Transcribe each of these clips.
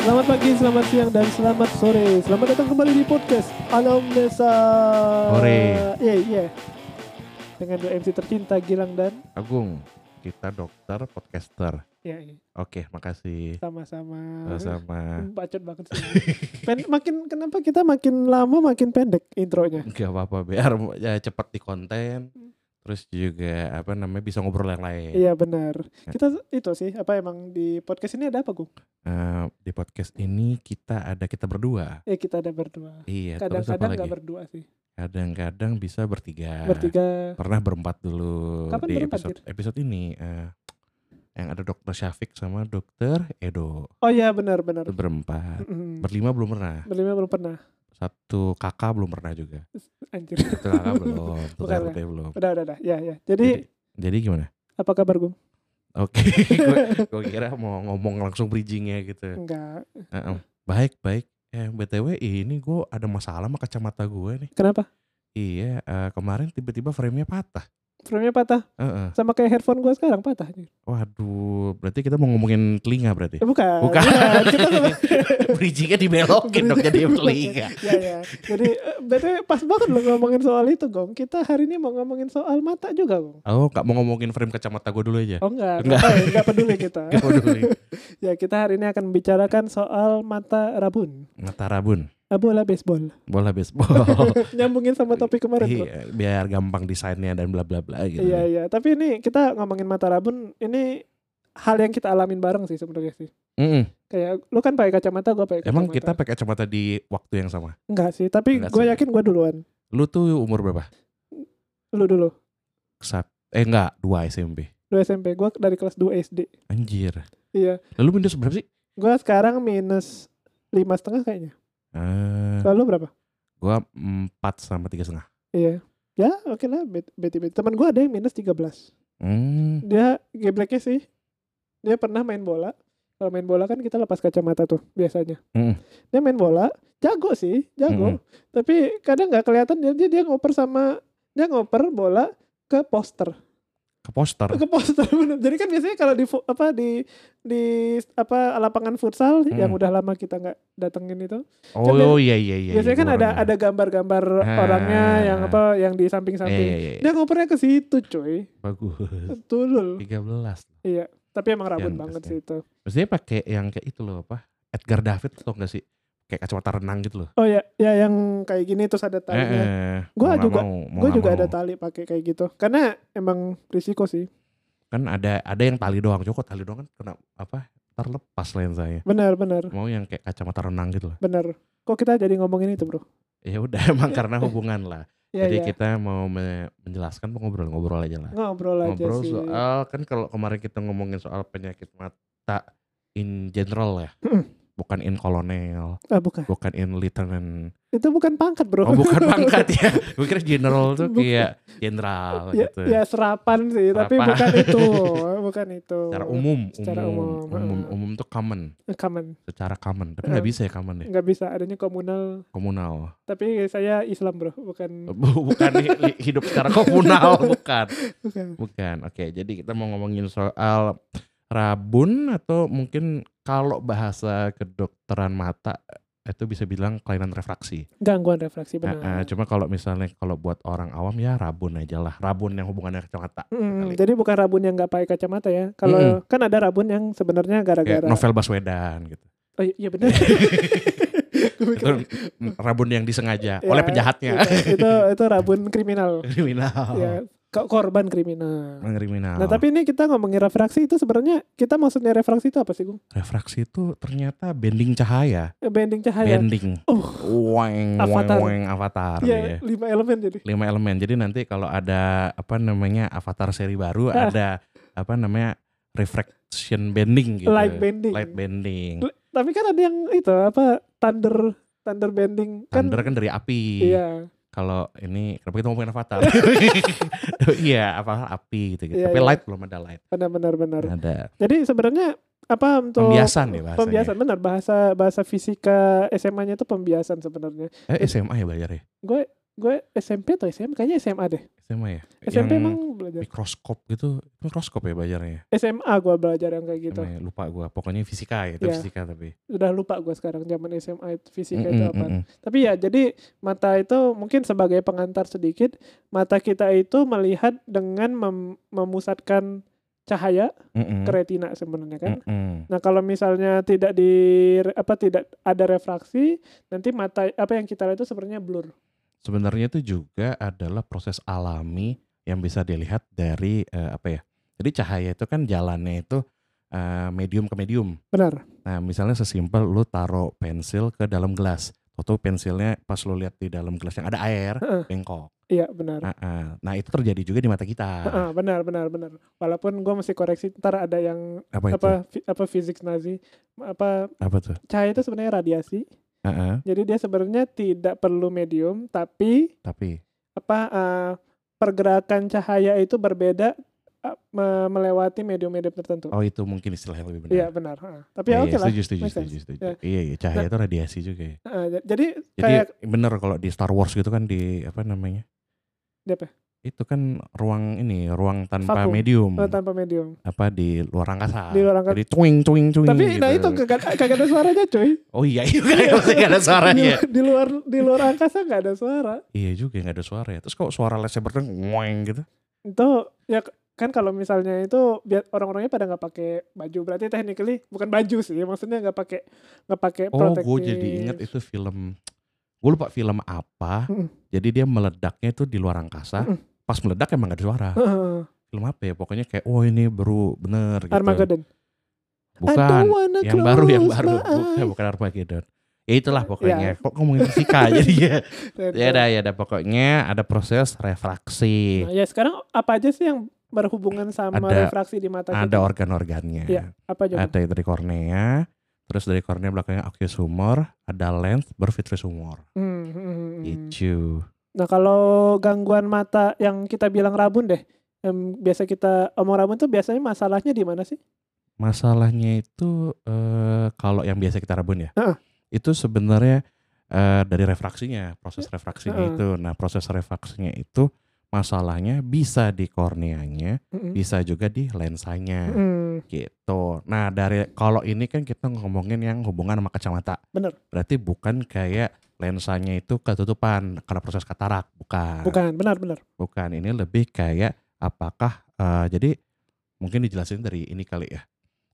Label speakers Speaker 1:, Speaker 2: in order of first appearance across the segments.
Speaker 1: Selamat pagi, selamat siang, dan selamat sore. Selamat datang kembali di podcast Alam Desa.
Speaker 2: Sore.
Speaker 1: Iya, iya. Dengan dua MC tercinta Gilang dan
Speaker 2: Agung, kita dokter podcaster.
Speaker 1: ya iya,
Speaker 2: Oke, makasih.
Speaker 1: sama-sama.
Speaker 2: Sama.
Speaker 1: Bacot banget sih. Pen- makin kenapa kita makin lama makin pendek intronya?
Speaker 2: Gak apa-apa, biar ya, cepat di konten. Terus juga apa namanya bisa ngobrol yang lain.
Speaker 1: Hmm. Iya benar. Kita itu sih apa emang di podcast ini ada apa Gung?
Speaker 2: Eh, di podcast ini kita ada kita berdua.
Speaker 1: Eh kita ada berdua.
Speaker 2: Iya, terus
Speaker 1: Kadang-kadang
Speaker 2: apa lagi? Ah.
Speaker 1: nggak berdua sih.
Speaker 2: Kadang-kadang bisa bertiga.
Speaker 1: Bertiga.
Speaker 2: Pernah berempat dulu
Speaker 1: Kapan
Speaker 2: di
Speaker 1: berempat,
Speaker 2: episode episode ini. eh, yang ada dokter Syafiq sama dokter Edo.
Speaker 1: Oh iya benar benar.
Speaker 2: Itu berempat.
Speaker 1: Mm-mm.
Speaker 2: Berlima belum pernah.
Speaker 1: Berlima belum pernah.
Speaker 2: Satu kakak belum pernah juga.
Speaker 1: Anjir.
Speaker 2: Satu kakak belum. Satu
Speaker 1: Bukan,
Speaker 2: RT belum.
Speaker 1: Udah udah udah. Ya ya. Jadi
Speaker 2: Jadi gimana?
Speaker 1: apa kabar Gung?
Speaker 2: Oke, gue- gue kira mau ngomong langsung bridgingnya gitu.
Speaker 1: Enggak.
Speaker 2: Heeh. Baik, baik. Eh, btw ini gue ada masalah sama kacamata gue nih.
Speaker 1: Kenapa?
Speaker 2: Iya, eh, kemarin tiba-tiba frame-nya patah.
Speaker 1: Frame-nya patah
Speaker 2: Heeh.
Speaker 1: sama kayak headphone gua sekarang patah.
Speaker 2: Waduh, berarti kita mau ngomongin telinga berarti.
Speaker 1: Eh, bukan.
Speaker 2: Bukan.
Speaker 1: Kita sama-
Speaker 2: bridgingnya dibelokin dong jadi telinga.
Speaker 1: ya ya. Jadi eh, berarti pas banget lo ngomongin soal itu Gong. Kita hari ini mau ngomongin soal mata juga Gong.
Speaker 2: Oh, nggak mau ngomongin frame kacamata gue dulu aja.
Speaker 1: Oh enggak,
Speaker 2: Enggak.
Speaker 1: enggak, eh, enggak peduli kita.
Speaker 2: Nggak peduli.
Speaker 1: Ya kita hari ini akan membicarakan soal mata rabun,
Speaker 2: Mata rabun,
Speaker 1: Eh, bola baseball.
Speaker 2: bola baseball.
Speaker 1: Nyambungin sama topik kemarin tuh.
Speaker 2: Iya, biar gampang desainnya dan bla bla bla gitu.
Speaker 1: Iya iya. Tapi ini kita ngomongin mata rabun, ini hal yang kita alamin bareng sih sebenarnya sih.
Speaker 2: Mm-mm.
Speaker 1: Kayak lu kan pakai kacamata, gue pakai
Speaker 2: Emang kita
Speaker 1: kacamata.
Speaker 2: pakai kacamata di waktu yang sama.
Speaker 1: enggak sih? Tapi
Speaker 2: Enggak
Speaker 1: gue
Speaker 2: sih.
Speaker 1: yakin gue duluan.
Speaker 2: Lu tuh umur berapa?
Speaker 1: Lu dulu.
Speaker 2: Sat eh enggak, dua SMP.
Speaker 1: 2 SMP gue dari kelas 2 SD
Speaker 2: Anjir.
Speaker 1: iya
Speaker 2: Lalu minus berapa sih?
Speaker 1: gue sekarang minus lima setengah kayaknya
Speaker 2: Eh,
Speaker 1: lalu berapa
Speaker 2: gua empat sama tiga setengah.
Speaker 1: iya ya oke lah bet beti beti teman gue ada yang minus 13
Speaker 2: Hmm,
Speaker 1: dia gebleknya sih dia pernah main bola kalau main bola kan kita lepas kacamata tuh biasanya
Speaker 2: Mm.
Speaker 1: dia main bola jago sih jago
Speaker 2: Mm.
Speaker 1: tapi kadang nggak kelihatan dia dia dia ngoper sama dia ngoper bola ke poster
Speaker 2: ke poster.
Speaker 1: ke poster bener. Jadi kan biasanya kalau di fu- apa di di apa lapangan futsal
Speaker 2: Hmm.
Speaker 1: yang udah lama kita nggak datengin itu.
Speaker 2: Oh,
Speaker 1: bias-
Speaker 2: iya iya iya.
Speaker 1: biasanya
Speaker 2: iya,
Speaker 1: kan
Speaker 2: gua
Speaker 1: ada
Speaker 2: pernah.
Speaker 1: ada gambar-gambar
Speaker 2: Ah.
Speaker 1: orangnya yang apa yang di
Speaker 2: Iya
Speaker 1: samping-samping.
Speaker 2: iya iya.
Speaker 1: Dia ngopernya ke situ, cuy.
Speaker 2: Bagus.
Speaker 1: Tulul.
Speaker 2: 13.
Speaker 1: Tapi emang rabun
Speaker 2: Kasihan,
Speaker 1: banget
Speaker 2: kasihan.
Speaker 1: sih itu.
Speaker 2: Maksudnya pakai yang kayak itu loh apa? Edgar David tau gak sih? Kayak kacamata renang gitu loh.
Speaker 1: Oh ya, ya yang kayak gini terus ada talinya.
Speaker 2: eh,
Speaker 1: ya. Gua
Speaker 2: mau nggak
Speaker 1: juga-
Speaker 2: mau, mau
Speaker 1: Gue
Speaker 2: nggak
Speaker 1: juga
Speaker 2: mau.
Speaker 1: ada tali pakai kayak gitu. Karena emang risiko sih.
Speaker 2: Kan ada ada yang tali doang. Joko tali doang kan kena apa? Ntar lepas lensanya.
Speaker 1: Benar, benar,
Speaker 2: Mau yang kayak kacamata renang gitu loh.
Speaker 1: benar. Kok kita jadi ngomongin itu, Bro?
Speaker 2: Ya udah emang karena hubungan lah.
Speaker 1: Ya,
Speaker 2: Jadi
Speaker 1: ya.
Speaker 2: kita mau me- menjelaskan mau ngobrol-ngobrol aja lah.
Speaker 1: ngobrol aja
Speaker 2: ngobrol
Speaker 1: sih.
Speaker 2: soal kan kalau kemarin kita ngomongin soal penyakit mata in general ya.
Speaker 1: Mm.
Speaker 2: bukan in kolonel,
Speaker 1: Ah, bukan.
Speaker 2: bukan in lieutenant.
Speaker 1: Itu bukan pangkat, Bro.
Speaker 2: Oh, bukan pangkat ya. Gue kira general tuh
Speaker 1: Bukan.
Speaker 2: kayak jenderal
Speaker 1: ya,
Speaker 2: gitu.
Speaker 1: ya serapan sih, tapi
Speaker 2: Serapan.
Speaker 1: bukan itu, bukan itu.
Speaker 2: Secara umum,
Speaker 1: Secara
Speaker 2: umum,
Speaker 1: umum,
Speaker 2: umum, umum,
Speaker 1: heeh.
Speaker 2: tuh common,
Speaker 1: Common,
Speaker 2: secara common. Tapi nggak
Speaker 1: Heeh. Iya.
Speaker 2: bisa ya common deh,
Speaker 1: nggak bisa. Adanya komunal,
Speaker 2: komunal.
Speaker 1: tapi saya Islam bro, bukan.
Speaker 2: bukan hi- hi- hidup secara komunal, bukan.
Speaker 1: bukan.
Speaker 2: Bukan. Oke, jadi kita mau ngomongin soal rabun atau mungkin kalau bahasa kedokteran mata eh, itu bisa bilang kelainan refraksi.
Speaker 1: Gangguan refraksi benar.
Speaker 2: Eh, eh, cuma kalau misalnya kalau buat orang awam ya rabun aja lah. Rabun yang hubungannya kacamata. ya
Speaker 1: Mm,
Speaker 2: kali.
Speaker 1: jadi bukan rabun yang nggak pakai kacamata ya. Kalau kan ada rabun yang sebenarnya
Speaker 2: Kayak
Speaker 1: gara-gara.
Speaker 2: novel Baswedan gitu.
Speaker 1: Oh, iya iya benar. Gua
Speaker 2: Itu
Speaker 1: mikir,
Speaker 2: rabun yang disengaja
Speaker 1: ya,
Speaker 2: oleh penjahatnya. Oh.
Speaker 1: Itu, itu itu rabun kriminal.
Speaker 2: Kriminal.
Speaker 1: Ya, ko- korban kriminal.
Speaker 2: Kriminal.
Speaker 1: Nah tapi ini kita ngomongin refraksi itu sebenarnya kita maksudnya refraksi itu apa sih Gung?
Speaker 2: refraksi itu ternyata bending cahaya,
Speaker 1: Bending cahaya.
Speaker 2: bending.
Speaker 1: Oh.
Speaker 2: Weng, weng,
Speaker 1: Avatar.
Speaker 2: weng, avatar
Speaker 1: Iya,
Speaker 2: ya.
Speaker 1: lima elemen jadi.
Speaker 2: lima elemen. Jadi nanti kalau ada apa namanya avatar seri baru
Speaker 1: Ah.
Speaker 2: ada apa namanya refraction bending gitu.
Speaker 1: Light bending.
Speaker 2: Light bending.
Speaker 1: L- Tapi kan ada yang itu apa thunder thunder bending kan.
Speaker 2: Thunder kan dari api.
Speaker 1: Iya.
Speaker 2: Kalau ini kenapa kita ngomongin avatar? iya, avatar api gitu. -gitu.
Speaker 1: Iya,
Speaker 2: Tapi
Speaker 1: iya.
Speaker 2: light belum ada light.
Speaker 1: Benar benar benar.
Speaker 2: Ada
Speaker 1: Jadi sebenarnya apa untuk
Speaker 2: pembiasan ya bahasanya.
Speaker 1: Pembiasan benar bahasa bahasa fisika SMA-nya itu pembiasan sebenarnya.
Speaker 2: Eh, SMA ya bayar ya?
Speaker 1: Gue Gue SMP atau SMA? Kayaknya SMA deh.
Speaker 2: SMA ya
Speaker 1: SMP
Speaker 2: yang
Speaker 1: emang belajar.
Speaker 2: mikroskop gitu mikroskop ya bayarnya ya?
Speaker 1: SMA gue belajar yang kayak gitu.
Speaker 2: Namanya, lupa gua pokoknya fisika ya itu
Speaker 1: Iya.
Speaker 2: fisika tapi
Speaker 1: Udah lupa gue sekarang zaman SMA itu fisika
Speaker 2: Mm,
Speaker 1: itu
Speaker 2: mm,
Speaker 1: apa.
Speaker 2: mm, mm.
Speaker 1: Tapi ya jadi mata itu mungkin sebagai pengantar sedikit. Mata kita itu melihat dengan mem- memusatkan cahaya
Speaker 2: Mm, mm.
Speaker 1: ke retina sebenarnya kan.
Speaker 2: Mm, mm.
Speaker 1: Nah, kalau misalnya tidak di apa tidak ada refraksi, nanti mata apa yang kita lihat itu sebenarnya blur.
Speaker 2: sebenarnya itu juga adalah proses alami yang bisa dilihat dari eh, apa ya? Jadi cahaya itu kan jalannya itu eh, medium ke medium.
Speaker 1: Benar.
Speaker 2: Nah, misalnya sesimpel lu taruh pensil ke dalam gelas. Atau pensilnya pas lu lihat di dalam gelas yang ada air,
Speaker 1: Heeh.
Speaker 2: bengkok.
Speaker 1: Iya, benar.
Speaker 2: Ah, ah. Nah, itu terjadi juga di mata kita.
Speaker 1: Heeh, benar, benar, benar. Walaupun gue mesti koreksi ntar ada yang
Speaker 2: Apa itu?
Speaker 1: apa fi- apa fisik Nazi apa
Speaker 2: Apa tuh?
Speaker 1: cahaya itu sebenarnya radiasi.
Speaker 2: Ah, ah.
Speaker 1: Jadi dia sebenarnya tidak perlu medium, tapi
Speaker 2: Tapi
Speaker 1: apa eh, pergerakan cahaya itu berbeda eh, me- melewati medium-medium tertentu.
Speaker 2: oh itu mungkin istilah yang lebih benar.
Speaker 1: Iya, benar. Heeh. Tapi ya
Speaker 2: Iya,
Speaker 1: oke lah.
Speaker 2: setuju, setuju,
Speaker 1: Make
Speaker 2: setuju,
Speaker 1: sense.
Speaker 2: setuju.
Speaker 1: Ya.
Speaker 2: Iya, iya, cahaya itu radiasi juga ya.
Speaker 1: Heeh, j- jadi
Speaker 2: Jadi hmm.
Speaker 1: kayak
Speaker 2: bener kalau di Star Wars gitu kan di apa namanya?
Speaker 1: Di apa?
Speaker 2: Itu kan ruang ini, ruang tanpa
Speaker 1: Vakum.
Speaker 2: medium.
Speaker 1: eh, tanpa medium.
Speaker 2: apa di luar angkasa.
Speaker 1: Di luar angkasa.
Speaker 2: Jadi cuing cuing cuing.
Speaker 1: Tapi nah
Speaker 2: gitu.
Speaker 1: itu kagak kagak ada suaranya coy.
Speaker 2: Oh iya, iya pasti gak ada suaranya.
Speaker 1: Di, di luar di luar angkasa nggak ada suara.
Speaker 2: iya juga gak ada suara ya. Terus kok suara lightsaber tuh ngoeng gitu.
Speaker 1: Itu ya kan kalau misalnya itu biar orang-orangnya pada nggak pakai baju berarti technically bukan baju sih ya, maksudnya nggak pakai nggak pakai
Speaker 2: Oh,
Speaker 1: protektif.
Speaker 2: gue jadi inget itu film. Gue lupa film apa.
Speaker 1: Mm.
Speaker 2: Jadi dia meledaknya itu di luar angkasa.
Speaker 1: Mm.
Speaker 2: Pas meledak emang gak ada suara.
Speaker 1: Heeh.
Speaker 2: Film apa ya? Pokoknya kayak oh ini baru bener gitu.
Speaker 1: Armageddon.
Speaker 2: Bukan.
Speaker 1: wanna
Speaker 2: Yang baru, yang
Speaker 1: close
Speaker 2: baru.
Speaker 1: my
Speaker 2: Bukan,
Speaker 1: eyes. Nah,
Speaker 2: bukan Armageddon. Ya itulah
Speaker 1: Ya.
Speaker 2: pokoknya. Kok ngomongin fisika jadi ya.
Speaker 1: Dan-
Speaker 2: Ya ada, ya ada. Pokoknya ada proses refraksi.
Speaker 1: Nah, ya sekarang apa aja sih yang berhubungan sama
Speaker 2: Ada-
Speaker 1: refraksi di mata kita?
Speaker 2: ada organ-organnya.
Speaker 1: Iya, apa aja? Bang?
Speaker 2: Ada dari kornea, terus dari kornea belakangnya aqueous humor, ada lens, baru vitreous humor.
Speaker 1: Hmm, hmm, hmm, hmm.
Speaker 2: Gitu.
Speaker 1: Nah kalau gangguan mata yang kita bilang rabun deh, yang biasa kita omong rabun tuh biasanya masalahnya di mana sih?
Speaker 2: Masalahnya itu eh, kalau yang biasa kita rabun ya,
Speaker 1: Heeh.
Speaker 2: itu sebenarnya eh, dari refraksinya, proses refraksinya
Speaker 1: Iya. Heeh.
Speaker 2: itu. Nah proses refraksinya itu masalahnya bisa di korneanya,
Speaker 1: Mm-mm.
Speaker 2: bisa juga di lensanya.
Speaker 1: Mm,
Speaker 2: gitu. Nah dari kalau ini kan kita ngomongin yang hubungan sama kacamata.
Speaker 1: Bener.
Speaker 2: Berarti bukan kayak lensanya itu ketutupan karena proses katarak, bukan.
Speaker 1: bukan, benar-benar.
Speaker 2: Bukan. Ini lebih kayak apakah eh, jadi mungkin dijelasin dari ini kali ya.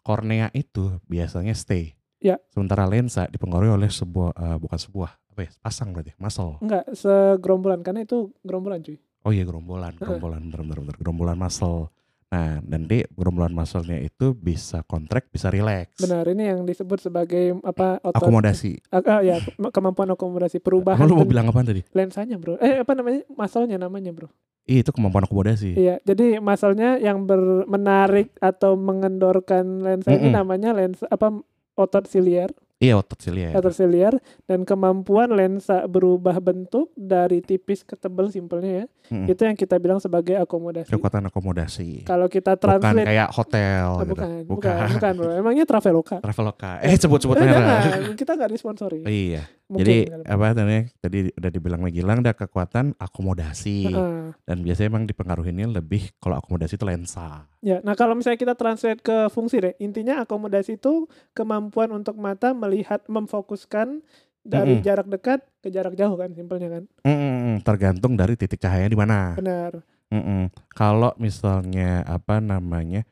Speaker 2: Kornea itu biasanya stay.
Speaker 1: Ya.
Speaker 2: Sementara lensa dipengaruhi oleh sebuah eh, bukan sebuah apa ya pasang berarti muscle.
Speaker 1: Enggak segerombolan karena itu gerombolan cuy.
Speaker 2: Oh iya gerombolan, gerombolan, bener bener bener gerombolan muscle. Nah, nanti gerombolan muscle-nya itu bisa contract, bisa relax.
Speaker 1: Benar, ini yang disebut sebagai apa otot
Speaker 2: akomodasi.
Speaker 1: Ah, ah, ya, ke- kemampuan akomodasi perubahan
Speaker 2: Emang lu mau
Speaker 1: pen-
Speaker 2: bilang apa tadi?
Speaker 1: lensanya, Bro. Eh, apa namanya? Masalnya namanya, Bro.
Speaker 2: Ih, itu kemampuan akomodasi.
Speaker 1: Iya, jadi masalnya yang ber- menarik atau mengendorkan lensa ini
Speaker 2: Mm-mm. namanya
Speaker 1: namanya lensa apa otot siliar.
Speaker 2: Iya, otot silia.
Speaker 1: atau siliar dan kemampuan lensa berubah bentuk dari tipis ke tebal simpelnya ya.
Speaker 2: Mm-mm.
Speaker 1: Itu yang kita bilang sebagai akomodasi.
Speaker 2: Kekuatan akomodasi.
Speaker 1: Kalau kita
Speaker 2: Bukan
Speaker 1: translate
Speaker 2: kayak hotel
Speaker 1: Ah,
Speaker 2: gitu.
Speaker 1: bukan, bukan, bukan, Bro. Emangnya Traveloka.
Speaker 2: Traveloka. Eh, sebut-sebut
Speaker 1: Eh,
Speaker 2: merah.
Speaker 1: jangan, kita nggak disponsori.
Speaker 2: Iya.
Speaker 1: Mungkin. ya.
Speaker 2: Jadi apa namanya? Tadi udah dibilang lagi hilang ada kekuatan akomodasi
Speaker 1: Heeh.
Speaker 2: dan biasanya emang dipengaruhinya lebih kalau akomodasi itu lensa.
Speaker 1: Ya, nah kalau misalnya kita translate ke fungsi deh, intinya akomodasi itu kemampuan untuk mata melihat memfokuskan dari
Speaker 2: Mm-mm.
Speaker 1: jarak dekat ke jarak jauh kan, simpelnya kan.
Speaker 2: Mm-mm, tergantung dari titik cahayanya di mana.
Speaker 1: Benar.
Speaker 2: Mm-mm. Kalau misalnya apa namanya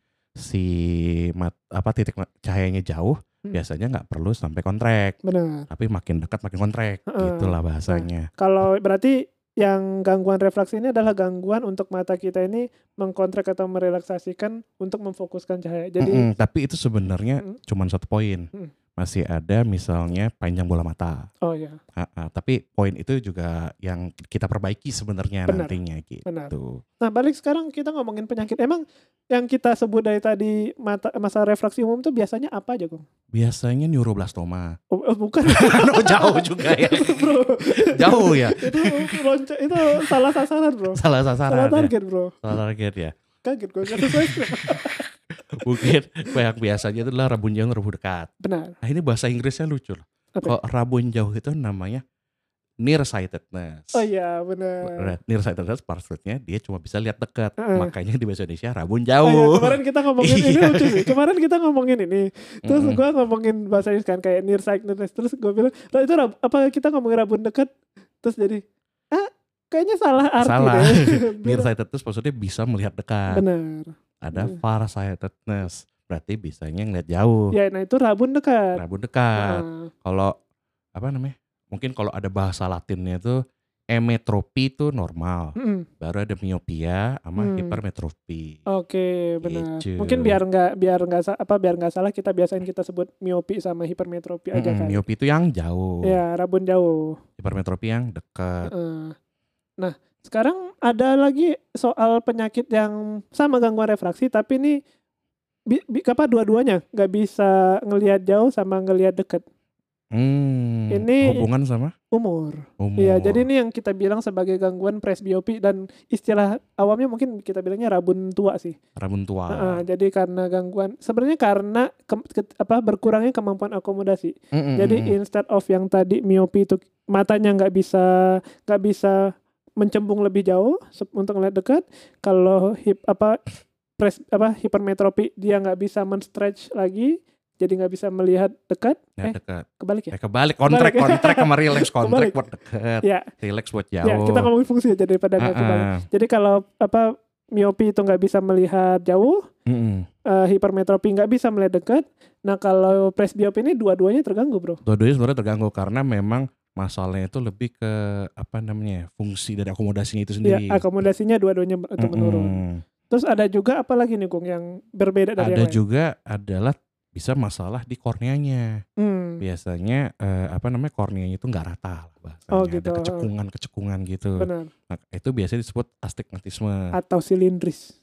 Speaker 2: si mat, apa titik ma- cahayanya jauh,
Speaker 1: Mm.
Speaker 2: biasanya nggak perlu sampai kontrek,
Speaker 1: Benar.
Speaker 2: tapi makin dekat makin kontrek,
Speaker 1: Heeh. Nah,
Speaker 2: gitulah bahasanya.
Speaker 1: Kalau berarti yang gangguan refraksi ini adalah gangguan untuk mata kita ini mengkontrak atau merelaksasikan untuk memfokuskan cahaya. Jadi
Speaker 2: Mm-mm. Tapi itu sebenarnya
Speaker 1: Mm.
Speaker 2: cuman satu poin.
Speaker 1: Mm.
Speaker 2: Masih ada misalnya panjang bola mata.
Speaker 1: oh ya,
Speaker 2: Ah, ah, Tapi poin itu juga yang kita perbaiki sebenarnya
Speaker 1: Benar.
Speaker 2: nantinya gitu.
Speaker 1: benar. Nah, balik sekarang kita ngomongin penyakit. Emang yang kita sebut dari tadi mata masalah refraksi umum itu biasanya apa aja, Gong?
Speaker 2: Biasanya neuroblastoma.
Speaker 1: Oh, oh, bukan,
Speaker 2: Jauh juga ya.
Speaker 1: Bro.
Speaker 2: Jauh ya.
Speaker 1: itu loncat- itu salah sasaran, Bro.
Speaker 2: Salah
Speaker 1: Salah
Speaker 2: sasaran. ya.
Speaker 1: target, Bro.
Speaker 2: Salah target ya.
Speaker 1: Kaget gue nggak sesuai script.
Speaker 2: Mungkin yang biasanya itu adalah rabun jauh, rabun dekat.
Speaker 1: Benar.
Speaker 2: Nah ini bahasa Inggrisnya lucu loh.
Speaker 1: Apa?
Speaker 2: Kalau rabun jauh itu namanya nearsightedness.
Speaker 1: Oh iya benar.
Speaker 2: Nah, Nearsightedness parfitnya dia cuma bisa lihat dekat.
Speaker 1: Heeh.
Speaker 2: Makanya di bahasa Indonesia rabun
Speaker 1: Oh, iya,
Speaker 2: jauh.
Speaker 1: kemarin kita ngomongin ini
Speaker 2: Iya.
Speaker 1: lucu sih. Kemarin kita ngomongin ini. Terus
Speaker 2: Mm-mm.
Speaker 1: gua ngomongin bahasa Inggris kan kayak nearsightedness. Terus gue bilang, "Lah itu rab- apa kita ngomongin rabun dekat?" Terus jadi, "Ah, kayaknya salah arti
Speaker 2: Salah.
Speaker 1: deh."
Speaker 2: Nearsightedness maksudnya bisa melihat dekat.
Speaker 1: Benar. Mm.
Speaker 2: Ada
Speaker 1: Bener.
Speaker 2: farsightedness. Berarti bisanya ngeliat jauh.
Speaker 1: Ya, nah itu rabun dekat.
Speaker 2: Uh. Rabun dekat.
Speaker 1: Nah,
Speaker 2: Kalau apa namanya? Mungkin kalau ada bahasa Latinnya itu emetropi itu normal.
Speaker 1: mm-mm.
Speaker 2: Baru ada miopia
Speaker 1: Hmm.
Speaker 2: sama hipermetropi.
Speaker 1: Oke, benar.
Speaker 2: Gitu.
Speaker 1: Mungkin biar nggak biar nggak sa- apa biar nggak salah kita biasain kita sebut miopi sama hipermetropi aja kan.
Speaker 2: Mm-mm, Miopi itu yang jauh.
Speaker 1: Ya, rabun jauh.
Speaker 2: Hipermetropi yang dekat.
Speaker 1: Heeh. Nah, sekarang ada lagi soal penyakit yang sama gangguan refraksi, tapi ini bi, bi- apa dua-duanya nggak bisa ngelihat jauh sama ngelihat dekat.
Speaker 2: Hmm,
Speaker 1: Ini-
Speaker 2: hubungan sama
Speaker 1: Umur.
Speaker 2: umur.
Speaker 1: Iya, jadi ini yang kita bilang sebagai gangguan presbiopi dan istilah awamnya mungkin kita bilangnya rabun tua sih.
Speaker 2: rabun tua.
Speaker 1: Heeh, jadi karena gangguan, sebenarnya karena ke- ke- apa berkurangnya kemampuan akomodasi.
Speaker 2: Mm-mm,
Speaker 1: Jadi
Speaker 2: mm-mm.
Speaker 1: instead of yang tadi miopi itu matanya nggak bisa nggak bisa mencembung lebih jauh se- untuk ngeliat dekat. Kalau hip apa pres, apa hipermetropi dia nggak bisa men-stretch lagi, jadi nggak bisa melihat dekat.
Speaker 2: Ya,
Speaker 1: Eh
Speaker 2: dekat.
Speaker 1: kebalik ya?
Speaker 2: Eh, kebalik kontrak
Speaker 1: Kebalik.
Speaker 2: kontrak sama relax kontrak
Speaker 1: Kebalik.
Speaker 2: buat dekat.
Speaker 1: Ya,
Speaker 2: Relax buat jauh.
Speaker 1: ya kita ngomongin fungsi aja daripada nggak kebalik.
Speaker 2: Ah, ah.
Speaker 1: Jadi kalau apa miopi itu nggak bisa melihat jauh,
Speaker 2: Mm-mm.
Speaker 1: eh, hipermetropi nggak bisa melihat dekat. Nah kalau presbiopi ini dua-duanya terganggu bro.
Speaker 2: Dua-duanya sebenarnya terganggu karena memang masalahnya itu lebih ke apa namanya ya, fungsi dari akomodasinya itu
Speaker 1: Ya
Speaker 2: sendiri.
Speaker 1: akomodasinya dua-duanya itu
Speaker 2: Iya. Mm-mm.
Speaker 1: menurun. Terus ada juga apa lagi nih Gung yang berbeda dari
Speaker 2: Ada
Speaker 1: yang lain?
Speaker 2: juga adalah bisa masalah di korneanya.
Speaker 1: Hmm.
Speaker 2: Iya. Biasanya eh, apa namanya korneanya itu nggak rata lah bahasanya.
Speaker 1: Oh,
Speaker 2: Ada
Speaker 1: gitu.
Speaker 2: kecekungan-kecekungan gitu.
Speaker 1: Benar.
Speaker 2: Nah, itu biasanya disebut astigmatisme.
Speaker 1: Atau silindris.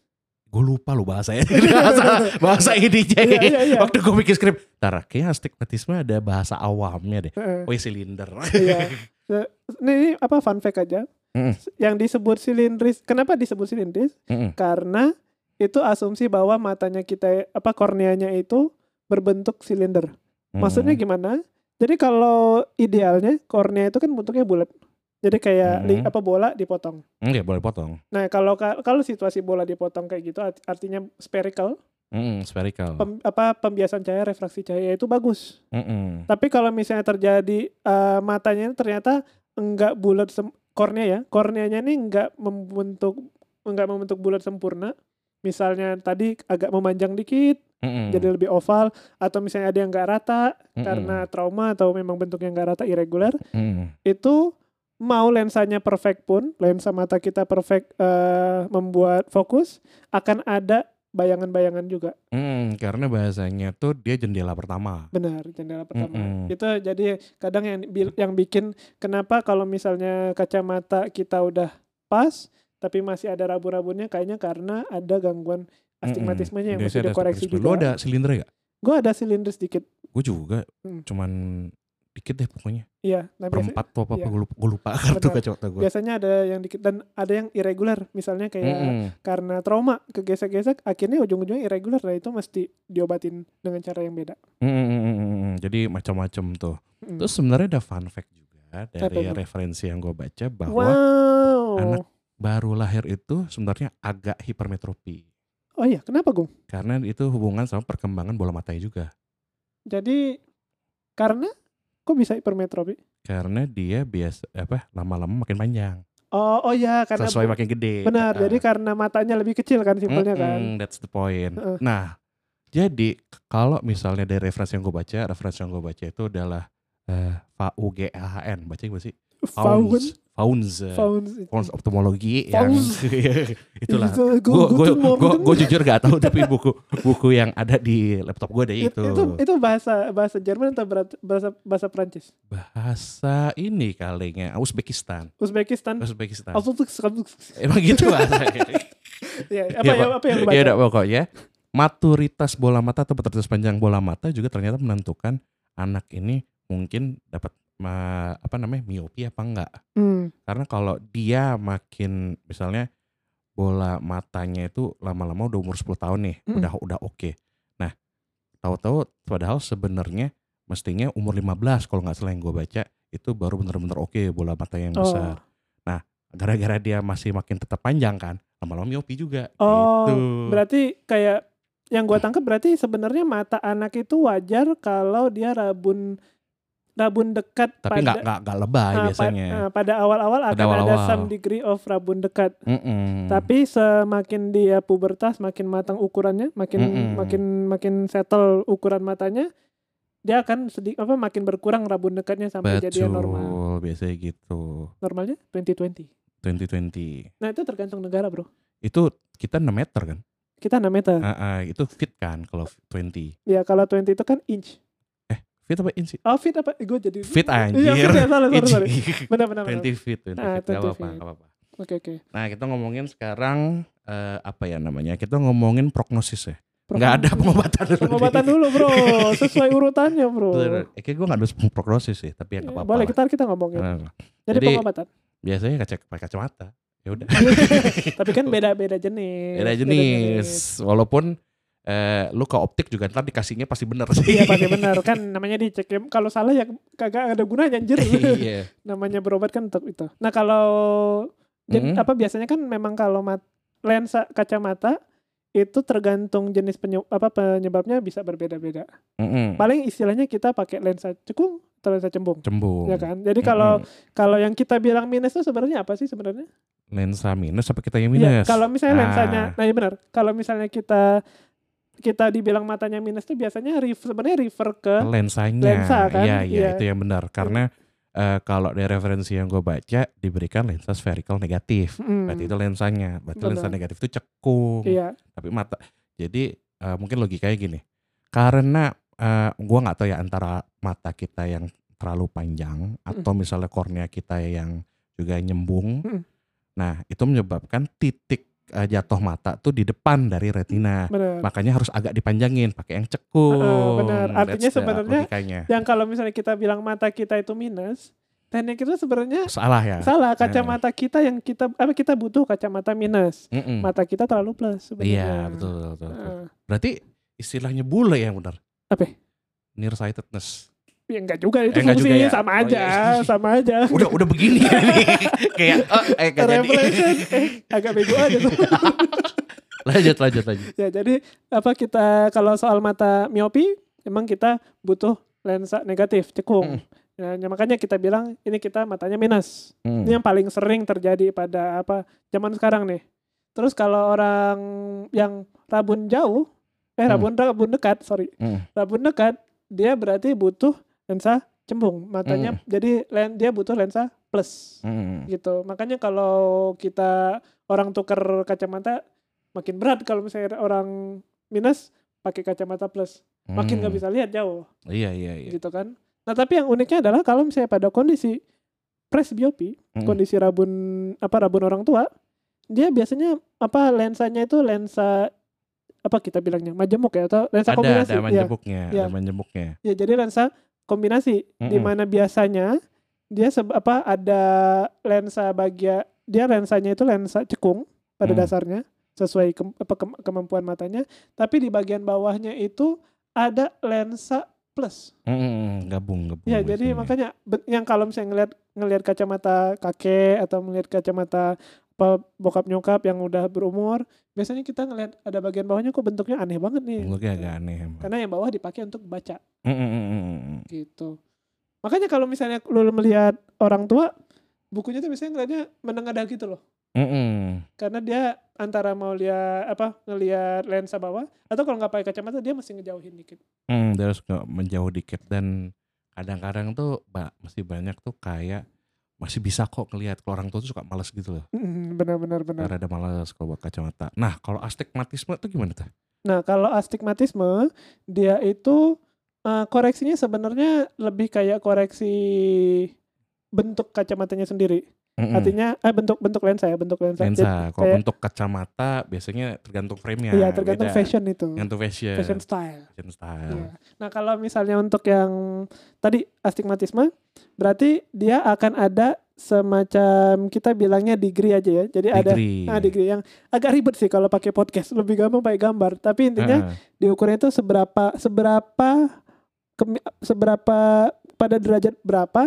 Speaker 2: gue lupa lo bahasanya bahasa bahasa IDJ
Speaker 1: Iya, iya, iya.
Speaker 2: waktu gue bikin skrip ntar kayaknya astigmatisme ada bahasa awamnya deh
Speaker 1: Heeh.
Speaker 2: oh silinder
Speaker 1: Iya. Se- Ini, ini apa fun fact aja.
Speaker 2: Mm-mm.
Speaker 1: Yang disebut silindris, kenapa disebut silindris?
Speaker 2: Mm-mm.
Speaker 1: Karena itu asumsi bahwa matanya kita apa korneanya itu berbentuk silinder.
Speaker 2: Hmm.
Speaker 1: Maksudnya gimana? Jadi kalau idealnya kornea itu kan bentuknya bulat. Jadi kayak li-
Speaker 2: Mm.
Speaker 1: apa bola dipotong.
Speaker 2: Mm, nggak boleh potong
Speaker 1: Nah, kalau kalau situasi bola dipotong kayak gitu art- artinya spherical,
Speaker 2: Mm, spherical
Speaker 1: pem- apa pembiasan cahaya, refraksi cahaya itu bagus.
Speaker 2: Mm-mm.
Speaker 1: Tapi kalau misalnya terjadi eh, matanya ternyata enggak bulat sem- kornea ya. Korneanya ini enggak membentuk enggak membentuk bulat sempurna. Misalnya tadi agak memanjang dikit
Speaker 2: Mm-mm.
Speaker 1: jadi lebih oval atau misalnya ada yang enggak rata
Speaker 2: Mm-mm.
Speaker 1: karena trauma atau memang bentuknya enggak rata irregular,
Speaker 2: Mm-mm.
Speaker 1: itu mau lensanya perfect pun, lensa mata kita perfect eh, membuat fokus akan ada bayangan-bayangan juga.
Speaker 2: Mm, karena bahasanya tuh dia jendela pertama
Speaker 1: Benar, jendela pertama.
Speaker 2: Mm-mm.
Speaker 1: Itu jadi kadang yang bi- yang bikin kenapa kalau misalnya kacamata kita udah pas tapi masih ada rabu-rabunya kayaknya karena ada gangguan astigmatismenya yang gitu
Speaker 2: Biasanya
Speaker 1: mesti
Speaker 2: ada
Speaker 1: dikoreksi
Speaker 2: astigmatisme. lu
Speaker 1: juga.
Speaker 2: ada silinder gak?
Speaker 1: Gue ada silinder sedikit.
Speaker 2: gue juga
Speaker 1: Mm.
Speaker 2: cuman dikit deh pokoknya
Speaker 1: Iya, nah biasa-
Speaker 2: perempat tuh apa
Speaker 1: iya.
Speaker 2: gue lupa, gua lupa kartu
Speaker 1: Benar.
Speaker 2: kacamata gue
Speaker 1: biasanya ada yang dikit dan ada yang irregular misalnya kayak karena trauma kegesek-gesek akhirnya ujung-ujungnya irregular nah itu mesti diobatin dengan cara yang beda.
Speaker 2: jadi macam-macam tuh
Speaker 1: Mm.
Speaker 2: Terus sebenarnya ada fun fact juga
Speaker 1: tuh?
Speaker 2: dari referensi yang gue baca bahwa
Speaker 1: wow.
Speaker 2: anak- baru lahir itu sebenarnya agak hipermetropi
Speaker 1: Oh iya, kenapa Gung?
Speaker 2: karena itu hubungan sama perkembangan bola matanya juga
Speaker 1: Jadi karena kok bisa hipermetropi?
Speaker 2: karena dia biasa apa lama-lama makin panjang
Speaker 1: Oh oh ya karena
Speaker 2: sesuai makin gede.
Speaker 1: benar.
Speaker 2: Ah.
Speaker 1: jadi karena matanya lebih kecil kan simpelnya kan.
Speaker 2: Mm-mm, That's the point.
Speaker 1: Heeh.
Speaker 2: Nah, jadi k- kalau misalnya dari referensi yang gue baca, referensi yang gue baca itu adalah eh VUGAHN. Baca gimana sih?
Speaker 1: Faun,
Speaker 2: Founds.
Speaker 1: faun,
Speaker 2: Founds optomologi
Speaker 1: Fauns.
Speaker 2: yang Oh, itulah
Speaker 1: Gue
Speaker 2: gue jujur gak tahu tapi buku buku yang ada di laptop gue ada
Speaker 1: itu.
Speaker 2: itu.
Speaker 1: itu itu bahasa bahasa Jerman atau berat- bahasa bahasa Prancis?
Speaker 2: bahasa ini kalinya Uzbekistan
Speaker 1: Uzbekistan. Oh,
Speaker 2: Uzbekistan
Speaker 1: Uzbekistan.
Speaker 2: emang gitu bahasanya
Speaker 1: Ya, apa
Speaker 2: Iya,
Speaker 1: yang
Speaker 2: Pak.
Speaker 1: apa yang lu
Speaker 2: ya
Speaker 1: baca?
Speaker 2: udah pokoknya maturitas bola mata atau maturitas panjang bola mata juga ternyata menentukan anak ini mungkin dapat ma- apa namanya miopi apa enggak
Speaker 1: Hmm,
Speaker 2: karena kalau dia makin misalnya bola matanya itu lama-lama udah umur 10 tahun nih
Speaker 1: Mm-mm.
Speaker 2: udah udah oke nah tahu-tahu padahal sebenarnya mestinya umur 15 kalau nggak salah yang gue baca itu baru bener-bener oke bola mata yang
Speaker 1: Oh.
Speaker 2: besar. Nah, gara-gara dia masih makin tetap panjang kan, lama-lama miopi juga.
Speaker 1: Oh,
Speaker 2: gitu.
Speaker 1: Berarti kayak yang gua tangkap berarti sebenarnya mata anak itu wajar kalau dia rabun rabun dekat
Speaker 2: Tapi nggak nggak nggak lebay
Speaker 1: ah, pa-
Speaker 2: biasanya.
Speaker 1: ah, pada awal-awal
Speaker 2: Pada
Speaker 1: akan ada
Speaker 2: awal-awal. Hmm.
Speaker 1: some degree of rabun dekat.
Speaker 2: Mm-mm.
Speaker 1: Tapi semakin dia pubertas, makin matang ukurannya, makin
Speaker 2: Mm-mm.
Speaker 1: makin makin settle ukuran matanya, dia akan sedikit apa makin berkurang rabun dekatnya sampai
Speaker 2: Betul,
Speaker 1: jadi yang normal.
Speaker 2: biasanya gitu.
Speaker 1: Normalnya 2020.
Speaker 2: 2020.
Speaker 1: Nah, itu tergantung negara, Bro.
Speaker 2: Itu kita 6 meter kan?
Speaker 1: Kita 6 meter.
Speaker 2: Ah, ah, itu fit kan kalau 20.
Speaker 1: Ya, kalau 20 itu kan inch.
Speaker 2: Fit apa inch?
Speaker 1: Oh, feet apa? Gue jadi
Speaker 2: Fit
Speaker 1: Iya,
Speaker 2: anjir.
Speaker 1: feet ya, salah, salah,
Speaker 2: Inch.
Speaker 1: salah. Benar, benar, benar.
Speaker 2: 20 feet, 20
Speaker 1: Ah,
Speaker 2: feet.
Speaker 1: 20
Speaker 2: Gak apa-apa,
Speaker 1: feet.
Speaker 2: gak apa-apa.
Speaker 1: Oke, oke.
Speaker 2: Nah, kita ngomongin sekarang eh, apa ya namanya? Kita ngomongin prognosis ya.
Speaker 1: Pro-
Speaker 2: Nggak ada pengobatan dulu.
Speaker 1: Pengobatan dulu, Bro. Sesuai urutannya, Bro. Eh,
Speaker 2: Eh, kayak gue gak ada prognosis sih, tapi ya gak apa-apa.
Speaker 1: Iya, Boleh
Speaker 2: lah.
Speaker 1: kita kita ngomongin.
Speaker 2: Nah,
Speaker 1: jadi,
Speaker 2: jadi-
Speaker 1: pengobatan.
Speaker 2: biasanya kaca pakai kacamata. Ya udah.
Speaker 1: Tapi kan Iya, beda-beda jenis.
Speaker 2: Beda jenis. Walaupun eh, lu ke optik juga ntar dikasihnya pasti bener sih.
Speaker 1: Iya pasti benar kan namanya dicek ya. kalau salah ya kagak ada gunanya anjir.
Speaker 2: Iya.
Speaker 1: namanya berobat kan untuk itu. Nah, kalau jen-
Speaker 2: Mm-mm.
Speaker 1: apa biasanya kan memang kalau mat- lensa kacamata itu tergantung jenis penye- apa penyebabnya bisa berbeda-beda.
Speaker 2: Hmm. Mm-mm.
Speaker 1: Paling istilahnya kita pakai lensa cekung atau lensa cembung,
Speaker 2: Cembung. Hmm.
Speaker 1: ya kan? Jadi kalau
Speaker 2: Mm-mm.
Speaker 1: kalau yang kita bilang minus itu sebenarnya apa sih sebenarnya?
Speaker 2: lensa minus apa kita yang
Speaker 1: Iya,
Speaker 2: minus?
Speaker 1: kalau misalnya
Speaker 2: Ah.
Speaker 1: lensanya, nah ya benar. Kalau misalnya kita kita dibilang matanya minus itu biasanya ref- sebenarnya refer ke
Speaker 2: lensanya.
Speaker 1: eh, Lensa, kan?
Speaker 2: Iya, iya,
Speaker 1: Iya.
Speaker 2: itu yang benar. Karena eh, kalau dari referensi yang gue baca diberikan lensa spherical negatif.
Speaker 1: Mm,
Speaker 2: Berarti itu Nah, lensanya. Berarti lensa
Speaker 1: Benar.
Speaker 2: negatif itu cekung.
Speaker 1: Iya,
Speaker 2: Tapi mata. Jadi eh, mungkin logikanya gini. Karena eh, gua nggak tahu ya antara mata kita yang terlalu panjang atau
Speaker 1: Hmm.
Speaker 2: misalnya kornea kita yang juga nyembung.
Speaker 1: Mm.
Speaker 2: Nah, itu menyebabkan titik eh, jatuh mata tuh di depan dari retina.
Speaker 1: benar.
Speaker 2: makanya harus agak dipanjangin pakai yang cekung
Speaker 1: Heeh, benar.
Speaker 2: That's
Speaker 1: Artinya
Speaker 2: the
Speaker 1: sebenarnya-
Speaker 2: logikanya.
Speaker 1: Yang kalau misalnya kita bilang mata kita itu minus, teknik itu sebenarnya
Speaker 2: salah ya
Speaker 1: salah kacamata kita yang kita apa kita butuh kacamata minus.
Speaker 2: Mm-mm.
Speaker 1: Mata kita terlalu plus sebenarnya.
Speaker 2: Hmm. iya betul, betul, betul, betul.
Speaker 1: Heeh.
Speaker 2: berarti istilahnya bule yang benar
Speaker 1: Apa?
Speaker 2: nearsightedness
Speaker 1: Ya enggak juga itu
Speaker 2: Eh, enggak
Speaker 1: fungsi
Speaker 2: juga ya?
Speaker 1: sama
Speaker 2: Oh,
Speaker 1: aja,
Speaker 2: iya.
Speaker 1: sama aja.
Speaker 2: udah udah begini ya nih. kayak eh, eh gak jadi
Speaker 1: Revelation eh, agak bego aja tuh.
Speaker 2: lanjut lanjut lanjut
Speaker 1: ya jadi apa kita kalau soal mata miopi emang kita butuh lensa negatif cekung. Nah, ya makanya kita bilang ini kita matanya minus.
Speaker 2: Hmm.
Speaker 1: Ini yang paling sering terjadi pada apa zaman sekarang nih. Terus kalau orang yang rabun jauh, eh
Speaker 2: Hmm.
Speaker 1: rabun rabun dekat, sorry,
Speaker 2: Hmm.
Speaker 1: rabun dekat, dia berarti butuh lensa cembung, matanya. Jadi len, dia butuh lensa plus
Speaker 2: Hmm.
Speaker 1: gitu. Makanya kalau kita orang tuker kacamata makin berat kalau misalnya orang minus pakai kacamata plus, makin nggak
Speaker 2: Hmm.
Speaker 1: bisa lihat jauh
Speaker 2: iya iya iya
Speaker 1: gitu kan. Nah tapi yang uniknya adalah kalau misalnya pada kondisi presbiopi,
Speaker 2: Mm.
Speaker 1: kondisi rabun apa rabun orang tua, dia biasanya apa lensanya itu lensa apa kita bilangnya majemuk ya atau lensa
Speaker 2: ada
Speaker 1: kombinasi
Speaker 2: ada
Speaker 1: ya.
Speaker 2: menjemuknya
Speaker 1: Iya.
Speaker 2: ada menjemuknya
Speaker 1: ya jadi lensa kombinasi
Speaker 2: Mm-mm.
Speaker 1: di mana biasanya dia seb- apa ada lensa bagia dia lensanya itu lensa cekung pada
Speaker 2: Mm.
Speaker 1: dasarnya sesuai kem- apa, kem- kemampuan matanya tapi di bagian bawahnya itu ada lensa plus
Speaker 2: Hmm, gabung gabung
Speaker 1: Ya, Iya. jadi
Speaker 2: biasanya.
Speaker 1: makanya be- yang kalau misalnya ngelihat ngelihat kacamata kakek atau melihat kacamata apa bokap nyokap yang udah berumur, biasanya kita ngelihat ada bagian bawahnya kok bentuknya aneh banget nih.
Speaker 2: Bentuknya agak aneh emang.
Speaker 1: Karena yang bawah dipakai untuk baca
Speaker 2: Hmm, hmm, hmm, hmm, hmm.
Speaker 1: gitu. Makanya kalau misalnya lu melihat orang tua, bukunya tuh biasanya ngelihatnya menengadah gitu loh.
Speaker 2: Hmm, hmm.
Speaker 1: Karena dia antara mau lihat apa ngelihat lensa bawah atau kalau nggak pakai kacamata dia mesti ngejauhin dikit.
Speaker 2: Hmm, dia harus nggak menjauh dikit dan kadang-kadang tuh ba- masih banyak tuh kayak masih bisa kok ngelihat kalau orang tua tuh suka males gitu loh.
Speaker 1: Benar-benar benar.
Speaker 2: Karena ada males kalau buat kacamata. Nah, kalau astigmatisme tuh gimana tuh?
Speaker 1: Nah, kalau astigmatisme dia itu eh, koreksinya sebenarnya lebih kayak koreksi bentuk kacamatanya sendiri.
Speaker 2: Mm-mm.
Speaker 1: Artinya eh bentuk bentuk lensa ya, bentuk lensa. Jadi,
Speaker 2: Mm. lensa. Kalau
Speaker 1: kayak-
Speaker 2: untuk kacamata biasanya tergantung frame-nya.
Speaker 1: Iya, tergantung
Speaker 2: ya, beda. Iya.
Speaker 1: fashion itu.
Speaker 2: Tergantung fashion.
Speaker 1: Fashion style.
Speaker 2: Fashion style.
Speaker 1: Iya. Nah, kalau misalnya untuk yang tadi astigmatisme berarti dia akan ada semacam kita bilangnya degree aja ya. Jadi ada
Speaker 2: Degree.
Speaker 1: Nah, degree yang agak ribet sih kalau pakai podcast, lebih gampang pakai gambar. Tapi intinya
Speaker 2: Heeh.
Speaker 1: diukurnya itu seberapa seberapa kemi- seberapa pada derajat berapa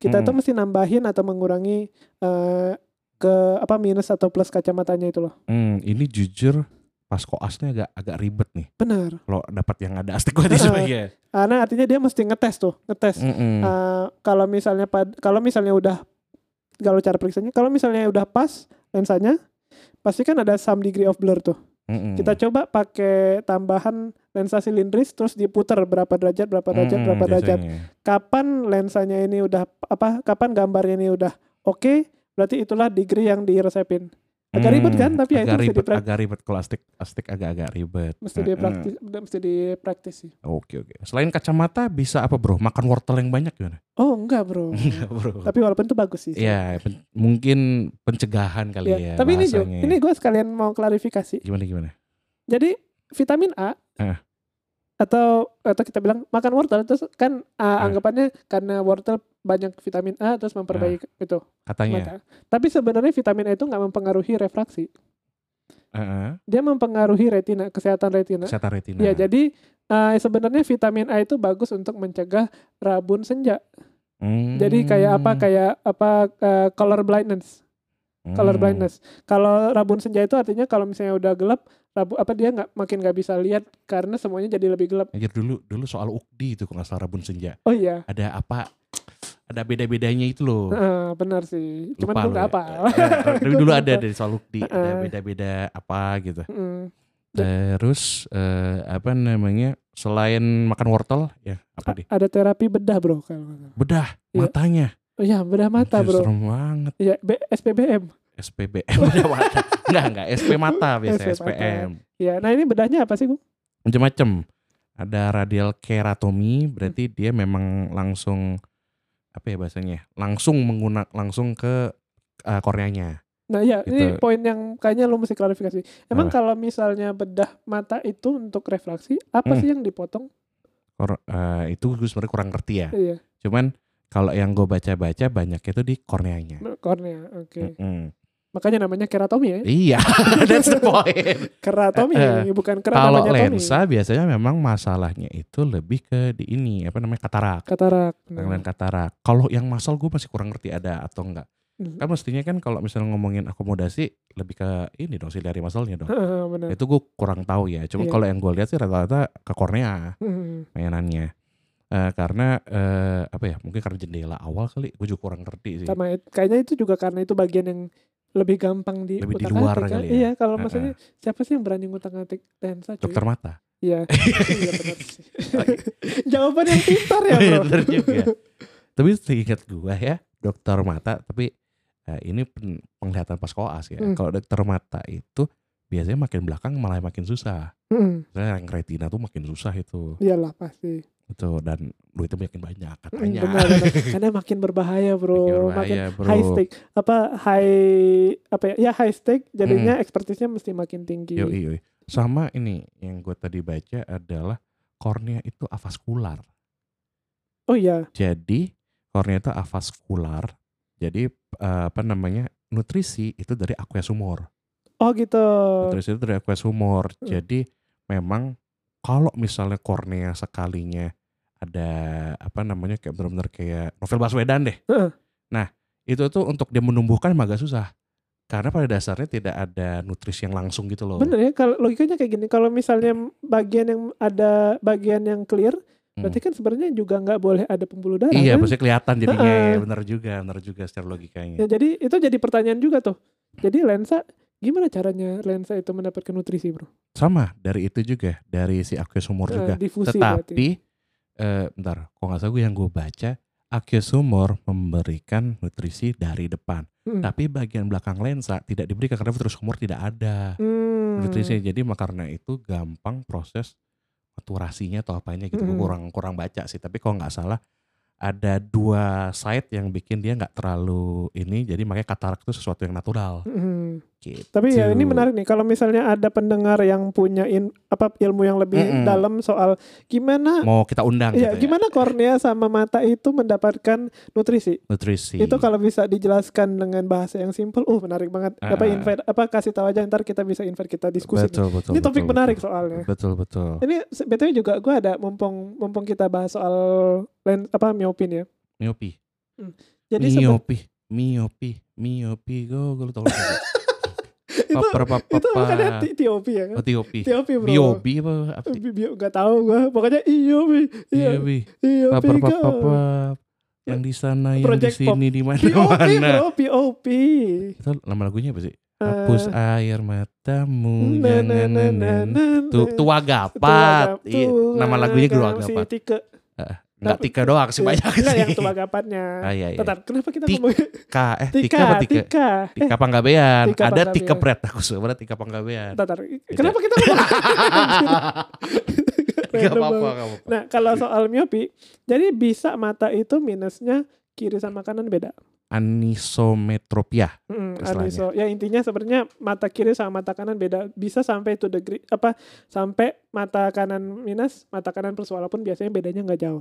Speaker 1: Kita tuh
Speaker 2: Mm-mm.
Speaker 1: mesti nambahin atau mengurangi eh, ke apa minus atau plus kacamatanya itu loh.
Speaker 2: Hmm, ini jujur pas koasnya agak agak ribet nih.
Speaker 1: Benar.
Speaker 2: Kalau dapat yang ada astigmatisme ya.
Speaker 1: Karena artinya dia mesti ngetes tuh, ngetes.
Speaker 2: Mm-mm.
Speaker 1: Eh, kalau misalnya pad- kalau misalnya udah kalau cara periksanya kalau misalnya udah pas lensanya pasti kan ada some degree of blur tuh.
Speaker 2: Mm-mm.
Speaker 1: Kita coba pakai tambahan lensa silindris terus diputer berapa derajat berapa derajat
Speaker 2: Mm-mm,
Speaker 1: berapa derajat.
Speaker 2: Hmm, biasanya.
Speaker 1: Kapan lensanya ini udah apa kapan gambarnya ini udah oke berarti itulah degree yang diresepin. Agak ribet
Speaker 2: Hmm,
Speaker 1: kan, tapi ya itu
Speaker 2: agak
Speaker 1: mesti
Speaker 2: ribet,
Speaker 1: diprak-
Speaker 2: agak ribet kalau astik astik agak-agak ribet.
Speaker 1: Mesti
Speaker 2: Mm-mm.
Speaker 1: dipraktis mesti dipraktis sih.
Speaker 2: Oke oke. Selain kacamata bisa apa bro? Makan wortel yang banyak gimana?
Speaker 1: Oh, enggak, Bro.
Speaker 2: Enggak bro.
Speaker 1: Tapi walaupun itu bagus sih.
Speaker 2: Ya pen- mungkin pencegahan kali
Speaker 1: Ya,
Speaker 2: ya.
Speaker 1: Tapi ini Jo,
Speaker 2: bahasanya.
Speaker 1: ini gue sekalian mau klarifikasi.
Speaker 2: gimana gimana?
Speaker 1: Jadi vitamin A
Speaker 2: Eh.
Speaker 1: atau atau kita bilang makan wortel terus kan ah,
Speaker 2: Eh.
Speaker 1: anggapannya karena wortel banyak vitamin A terus memperbaiki
Speaker 2: Eh.
Speaker 1: itu
Speaker 2: Katanya.
Speaker 1: mata. Tapi sebenarnya vitamin A itu nggak mempengaruhi refraksi.
Speaker 2: Heeh.
Speaker 1: Dia mempengaruhi retina, kesehatan retina.
Speaker 2: Kesehatan retina.
Speaker 1: Ya, jadi eh, sebenarnya vitamin A itu bagus untuk mencegah rabun senja.
Speaker 2: Hmm.
Speaker 1: Jadi kayak apa? Kayak apa eh, color blindness.
Speaker 2: Hmm.
Speaker 1: color blindness. Kalau rabun senja itu artinya kalau misalnya udah gelap, rabu apa dia nggak makin nggak bisa lihat karena semuanya jadi lebih gelap.
Speaker 2: Anjir dulu dulu soal ukdi itu kalau nggak salah Rabun Senja.
Speaker 1: Oh iya,
Speaker 2: Ada apa? Ada beda-bedanya itu loh.
Speaker 1: Heeh, benar sih. Cuman
Speaker 2: Lupa
Speaker 1: gue
Speaker 2: lu
Speaker 1: nggak
Speaker 2: ya.
Speaker 1: apa.
Speaker 2: Ya, tapi dulu
Speaker 1: Gua
Speaker 2: ada
Speaker 1: lupa.
Speaker 2: dari soal ukdi, ada
Speaker 1: Heeh.
Speaker 2: beda-beda apa gitu.
Speaker 1: Mm.
Speaker 2: Terus eh, apa namanya? Selain makan wortel, ya apa deh?
Speaker 1: Ada terapi bedah bro. kalau nggak salah.
Speaker 2: Bedah
Speaker 1: Ah. Iya.
Speaker 2: matanya.
Speaker 1: Oh iya, bedah mata
Speaker 2: Anjir,
Speaker 1: bro.
Speaker 2: Serem banget.
Speaker 1: Iya, B- SPBM.
Speaker 2: SPBM udah mata. Enggak, enggak. SP mata biasanya,
Speaker 1: SP mata.
Speaker 2: SPM.
Speaker 1: Iya, nah ini bedahnya apa sih? Bung?
Speaker 2: Macam-macam. Ada radial keratomi, berarti dia memang langsung apa ya bahasanya? Langsung menggunakan langsung ke eh, korneanya.
Speaker 1: Nah iya, ini
Speaker 2: Gitu.
Speaker 1: poin yang kayaknya lu mesti klarifikasi. Emang
Speaker 2: Apa?
Speaker 1: kalau misalnya bedah mata itu untuk refraksi, apa
Speaker 2: Hmm.
Speaker 1: sih yang dipotong?
Speaker 2: Kor- eh, itu gue sebenarnya kurang ngerti ya.
Speaker 1: Iya,
Speaker 2: Cuman kalau yang gue baca-baca banyak itu di korneanya.
Speaker 1: kornea. Oke.
Speaker 2: Mm-mm.
Speaker 1: Makanya namanya keratomi ya.
Speaker 2: Iya, that's the point.
Speaker 1: Keratomi,
Speaker 2: Eh,
Speaker 1: bukan keratomi.
Speaker 2: Kalau lensa biasanya memang masalahnya itu lebih ke di ini apa namanya katarak,
Speaker 1: katarak. Nah.
Speaker 2: gangguan katarak. Kalau yang masal gue masih kurang ngerti ada atau enggak.
Speaker 1: Hmm.
Speaker 2: Kan mestinya kan kalau misalnya ngomongin akomodasi lebih ke ini dong sih dari masalnya dong.
Speaker 1: Heeh, benar.
Speaker 2: Itu gue kurang tahu ya.
Speaker 1: Hmm.
Speaker 2: Cuma
Speaker 1: Iya.
Speaker 2: kalau yang gue lihat sih rata-rata ke kornea
Speaker 1: Hmm.
Speaker 2: mainannya. Eh, karena eh, apa ya? Mungkin karena jendela awal kali. Gue juga kurang ngerti sih.
Speaker 1: Sama kayaknya itu juga karena itu bagian yang lebih gampang di
Speaker 2: Lebih di
Speaker 1: utak
Speaker 2: luar
Speaker 1: atik kan.
Speaker 2: kali ya.
Speaker 1: Iya, kalau
Speaker 2: Heeh.
Speaker 1: maksudnya siapa sih yang berani ngutak atik lensa cuy?
Speaker 2: Dokter mata.
Speaker 1: Iya. iya benar sih. Jawaban yang pintar ya, Bro.
Speaker 2: Oh, Bener iya, juga. tapi seingat gua ya, dokter mata tapi eh, ini pen- penglihatan pas koas ya.
Speaker 1: Hmm.
Speaker 2: Kalau dokter mata itu biasanya makin belakang malah makin susah.
Speaker 1: Heeh.
Speaker 2: Misalnya yang retina tuh makin susah itu.
Speaker 1: Hmm, Iyalah pasti.
Speaker 2: Itu dan duitnya makin banyak
Speaker 1: Mm,
Speaker 2: katanya.
Speaker 1: Benar, benar. Karena makin berbahaya, Bro.
Speaker 2: Makin
Speaker 1: Makin,
Speaker 2: berbahaya, bro.
Speaker 1: high stake. Apa high apa ya? Ya high stake jadinya ekspertisnya mesti makin tinggi.
Speaker 2: Hmm. Yoi, yoi. Sama ini yang gue tadi baca adalah kornea itu avaskular.
Speaker 1: Oh iya.
Speaker 2: Jadi kornea itu avaskular. Jadi eh, apa namanya? Nutrisi itu dari aqueous humor.
Speaker 1: Oh gitu.
Speaker 2: Terus itu dari aqueous humor.
Speaker 1: Hmm.
Speaker 2: Jadi memang kalau misalnya kornea sekalinya ada apa namanya kayak benar-benar kayak novel Baswedan deh.
Speaker 1: Heeh.
Speaker 2: Nah, itu tuh untuk dia menumbuhkan emang agak susah. Karena pada dasarnya tidak ada nutrisi yang langsung gitu loh.
Speaker 1: Bener ya, kalau logikanya kayak gini, kalau misalnya bagian yang ada bagian yang clear, berarti kan sebenarnya juga nggak boleh ada pembuluh darah.
Speaker 2: Hmm. Iya,
Speaker 1: kan?
Speaker 2: pasti kelihatan jadinya
Speaker 1: Heeh.
Speaker 2: ya, benar juga, benar juga secara logikanya.
Speaker 1: Ya, jadi itu jadi pertanyaan juga tuh. Jadi lensa, gimana caranya lensa itu mendapatkan nutrisi, bro?
Speaker 2: Sama dari itu juga, dari si aqueous humor
Speaker 1: Eh,
Speaker 2: juga.
Speaker 1: difusi berarti.
Speaker 2: Tetapi eh, bentar, kalau nggak salah gue yang gue baca aqueous humor memberikan nutrisi dari depan.
Speaker 1: Mm.
Speaker 2: Tapi bagian belakang lensa tidak diberikan karena terus humor tidak ada
Speaker 1: Hmm.
Speaker 2: nutrisi. Jadi maka karena itu gampang proses maturasinya atau apanya gitu. Gue
Speaker 1: Mm.
Speaker 2: kurang kurang baca sih, tapi kalau nggak salah ada dua site yang bikin dia nggak terlalu ini jadi makanya katarak itu sesuatu yang natural
Speaker 1: Hmm.
Speaker 2: gitu.
Speaker 1: Tapi ya ini menarik nih kalau misalnya ada pendengar yang punya in- apa ilmu yang lebih
Speaker 2: Mm-mm.
Speaker 1: dalam soal gimana
Speaker 2: mau kita undang
Speaker 1: ya
Speaker 2: gitu ya,
Speaker 1: gimana kornea sama mata itu mendapatkan nutrisi.
Speaker 2: nutrisi
Speaker 1: Itu kalau bisa dijelaskan dengan bahasa yang simple, uh menarik banget.
Speaker 2: Ah,
Speaker 1: Apa
Speaker 2: ah.
Speaker 1: invite apa kasih tahu aja ntar kita bisa invite kita diskusi. nih.
Speaker 2: betul, betul,
Speaker 1: Ini topik
Speaker 2: betul,
Speaker 1: menarik
Speaker 2: betul.
Speaker 1: soalnya.
Speaker 2: betul betul
Speaker 1: Ini se- btw juga gue ada mumpung mumpung kita bahas soal len apa miopin ya.
Speaker 2: miopi
Speaker 1: Jadi sebe-
Speaker 2: miopi, miopi, miopi, go, go, tolong.
Speaker 1: itu
Speaker 2: Paper, paper,
Speaker 1: itu bukannya Ti- Tiopi ya kan?
Speaker 2: Oh, Tiopi.
Speaker 1: Tiopi bro.
Speaker 2: Biobi apa? apa sih?
Speaker 1: Bi- Bio nggak tahu gua. Pokoknya E Iopi. Iopi.
Speaker 2: Biobi.
Speaker 1: Iopi.
Speaker 2: E Paper,
Speaker 1: go.
Speaker 2: paper, paper. Yang di sana, yang di
Speaker 1: ya, Project Pop.
Speaker 2: sini, di
Speaker 1: POP
Speaker 2: mana-mana.
Speaker 1: bro, POP.
Speaker 2: Itu nama lagunya apa sih?
Speaker 1: Eh,
Speaker 2: Hapus air matamu.
Speaker 1: na- na- na-
Speaker 2: Ya, jangan-
Speaker 1: na- na-
Speaker 2: Tu-
Speaker 1: na-
Speaker 2: Tua Gapat. Iya,
Speaker 1: Tua
Speaker 2: Nama lagunya Tua
Speaker 1: Gapap, si
Speaker 2: Gapat.
Speaker 1: Tike.
Speaker 2: Enggak tiga doang sih banyak
Speaker 1: Enggak, iya. yang
Speaker 2: sih.
Speaker 1: tua gapatnya.
Speaker 2: Ah, iya, iya.
Speaker 1: Bentar, kenapa kita
Speaker 2: Tik-
Speaker 1: ngomongin
Speaker 2: Ka, eh tiga
Speaker 1: Tika?
Speaker 2: apa tiga?
Speaker 1: Tika. Eh,
Speaker 2: Tika Panggabean.
Speaker 1: Tika
Speaker 2: Ada tiga
Speaker 1: Panggabean.
Speaker 2: pret aku sebenarnya tiga Panggabean.
Speaker 1: bentar, bentar. Kenapa kita ngomongin
Speaker 2: Gak
Speaker 1: Random banget.
Speaker 2: apa-apa, gak apa-apa.
Speaker 1: Nah, kalau soal miopi, jadi bisa mata itu minusnya kiri sama kanan beda.
Speaker 2: Anisometropia.
Speaker 1: Mm,
Speaker 2: Istilahnya.
Speaker 1: aniso. Ya intinya sebenarnya mata kiri sama mata kanan beda. Bisa sampai itu degree apa sampai mata kanan minus, mata kanan plus walaupun biasanya bedanya nggak jauh.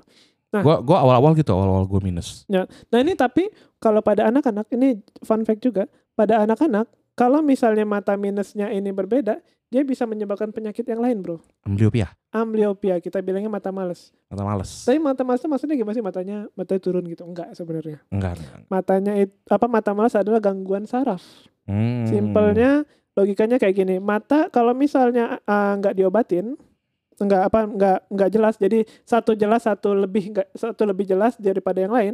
Speaker 1: Nah.
Speaker 2: Gua gua awal-awal gitu, awal-awal gua minus.
Speaker 1: Nah ini tapi kalau pada anak-anak ini fun fact juga pada anak-anak kalau misalnya mata minusnya ini berbeda dia bisa menyebabkan penyakit yang lain bro
Speaker 2: Ambliopia
Speaker 1: ambliopia kita bilangnya mata males
Speaker 2: atau males.
Speaker 1: tapi mata males itu maksudnya gimana sih matanya matanya turun gitu enggak sebenarnya
Speaker 2: Enggak. enggak.
Speaker 1: matanya it- apa mata males adalah gangguan saraf
Speaker 2: Hmm.
Speaker 1: simpelnya logikanya kayak gini mata kalau misalnya ah, nggak diobatin nggak apa nggak nggak jelas jadi satu jelas satu lebih nggak satu lebih jelas daripada yang lain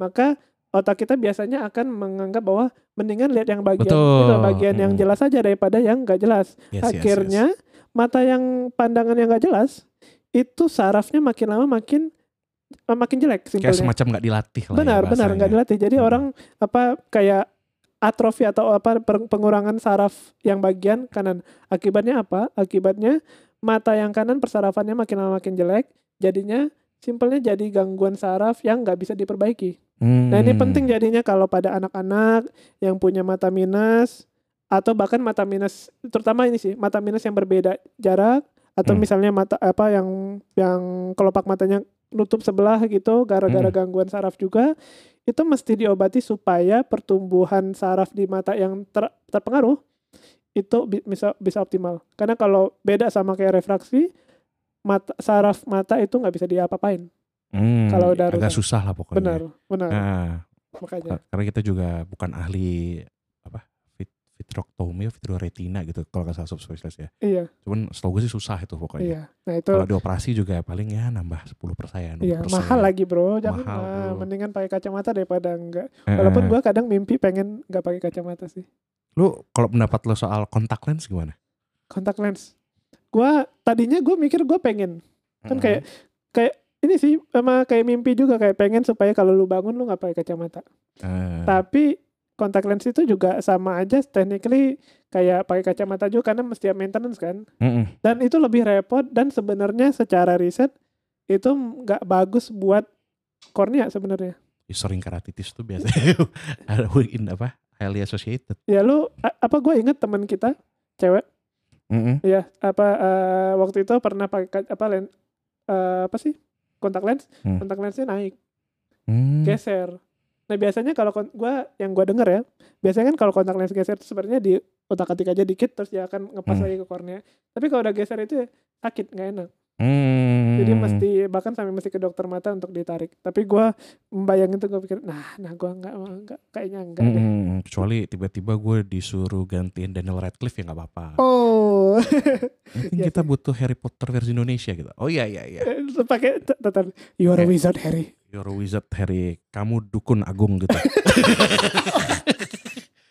Speaker 1: maka otak kita biasanya akan menganggap bahwa mendingan lihat yang bagian
Speaker 2: Betul.
Speaker 1: itu bagian yang
Speaker 2: Mm.
Speaker 1: jelas saja daripada yang nggak jelas
Speaker 2: Yes, yes, yes.
Speaker 1: akhirnya mata yang pandangan yang nggak jelas itu sarafnya makin lama makin eh, makin jelek
Speaker 2: kayak
Speaker 1: simpelnya
Speaker 2: semacam nggak dilatih lah. ya
Speaker 1: benar benar
Speaker 2: bahasanya.
Speaker 1: nggak dilatih jadi
Speaker 2: Hmm.
Speaker 1: orang apa kayak atrofi atau apa per- pengurangan saraf yang bagian kanan akibatnya apa akibatnya mata yang kanan persarafannya makin lama makin jelek jadinya simpelnya jadi gangguan saraf yang nggak bisa diperbaiki nah ini
Speaker 2: Hmm.
Speaker 1: penting jadinya kalau pada anak-anak yang punya mata minus atau bahkan mata minus terutama ini sih mata minus yang berbeda jarak atau
Speaker 2: Hmm.
Speaker 1: misalnya mata apa yang yang kelopak matanya nutup sebelah gitu gara-gara
Speaker 2: Hmm.
Speaker 1: gangguan saraf juga itu mesti diobati supaya pertumbuhan saraf di mata yang ter- terpengaruh itu bi- bisa bisa optimal karena kalau beda sama kayak refraksi mata saraf mata itu nggak bisa diapa-apain
Speaker 2: Hmm,
Speaker 1: kalau udah
Speaker 2: agak
Speaker 1: rusak.
Speaker 2: susah lah pokoknya.
Speaker 1: benar Ya. benar
Speaker 2: Oh, iya. Nah,
Speaker 1: makanya
Speaker 2: karena kita juga bukan ahli apa vit- vitrectomy, vitreoretina gitu kalau nggak salah subspesialis ya.
Speaker 1: iya
Speaker 2: Cuman setahu gue sih susah itu pokoknya.
Speaker 1: iya nah itu
Speaker 2: Kalau dioperasi juga paling ya nambah 10 persen.
Speaker 1: iya mahal lagi bro jangan
Speaker 2: Mahal,
Speaker 1: lah.
Speaker 2: bro. Eh.
Speaker 1: mendingan pakai kacamata daripada enggak walaupun gua kadang mimpi pengen nggak pakai kacamata sih
Speaker 2: Lu kalau pendapat lo soal kontak lens gimana?
Speaker 1: kontak lens gua tadinya gue mikir gue pengen kan kayak kayak ini sih sama kayak mimpi juga kayak pengen supaya kalau lu bangun lu nggak pakai kacamata
Speaker 2: Eh,
Speaker 1: tapi kontak lens itu juga sama aja technically kayak pakai kacamata juga karena mesti ada maintenance kan
Speaker 2: mm-mm.
Speaker 1: dan itu lebih repot dan sebenarnya secara riset itu nggak bagus buat kornea sebenarnya
Speaker 2: sering keratitis tuh biasanya ada in apa highly associated.
Speaker 1: ya lu a- apa gue inget teman kita cewek
Speaker 2: Mm-mm.
Speaker 1: ya apa eh, waktu itu pernah pakai ka- apa len eh, apa sih kontak lens
Speaker 2: Hmm.
Speaker 1: kontak lensnya naik
Speaker 2: Hmm.
Speaker 1: geser. Nah biasanya kalau kon- gua yang gua denger ya, biasanya kan kalau kontak lens geser itu sebenarnya di otak atik aja dikit terus dia akan ngepas
Speaker 2: Hmm.
Speaker 1: lagi ke kornea. Tapi kalau udah geser itu ya, sakit nggak enak.
Speaker 2: Hmm.
Speaker 1: Jadi mesti bahkan sampai mesti ke dokter mata untuk ditarik. Tapi gua membayangin tuh gua pikir, nah, nah gua nggak mau, nggak kayaknya enggak deh.
Speaker 2: Mm-mm. Hmm. kecuali tiba-tiba gue disuruh gantiin Daniel Radcliffe ya nggak apa-apa.
Speaker 1: Oh,
Speaker 2: Mungkin
Speaker 1: iya
Speaker 2: kita butuh Harry Potter versi Indonesia gitu. Oh iya iya iya.
Speaker 1: Terus pakai t- tetap you are a
Speaker 2: Eh.
Speaker 1: wizard Harry.
Speaker 2: You're a wizard Harry, kamu dukun agung gitu.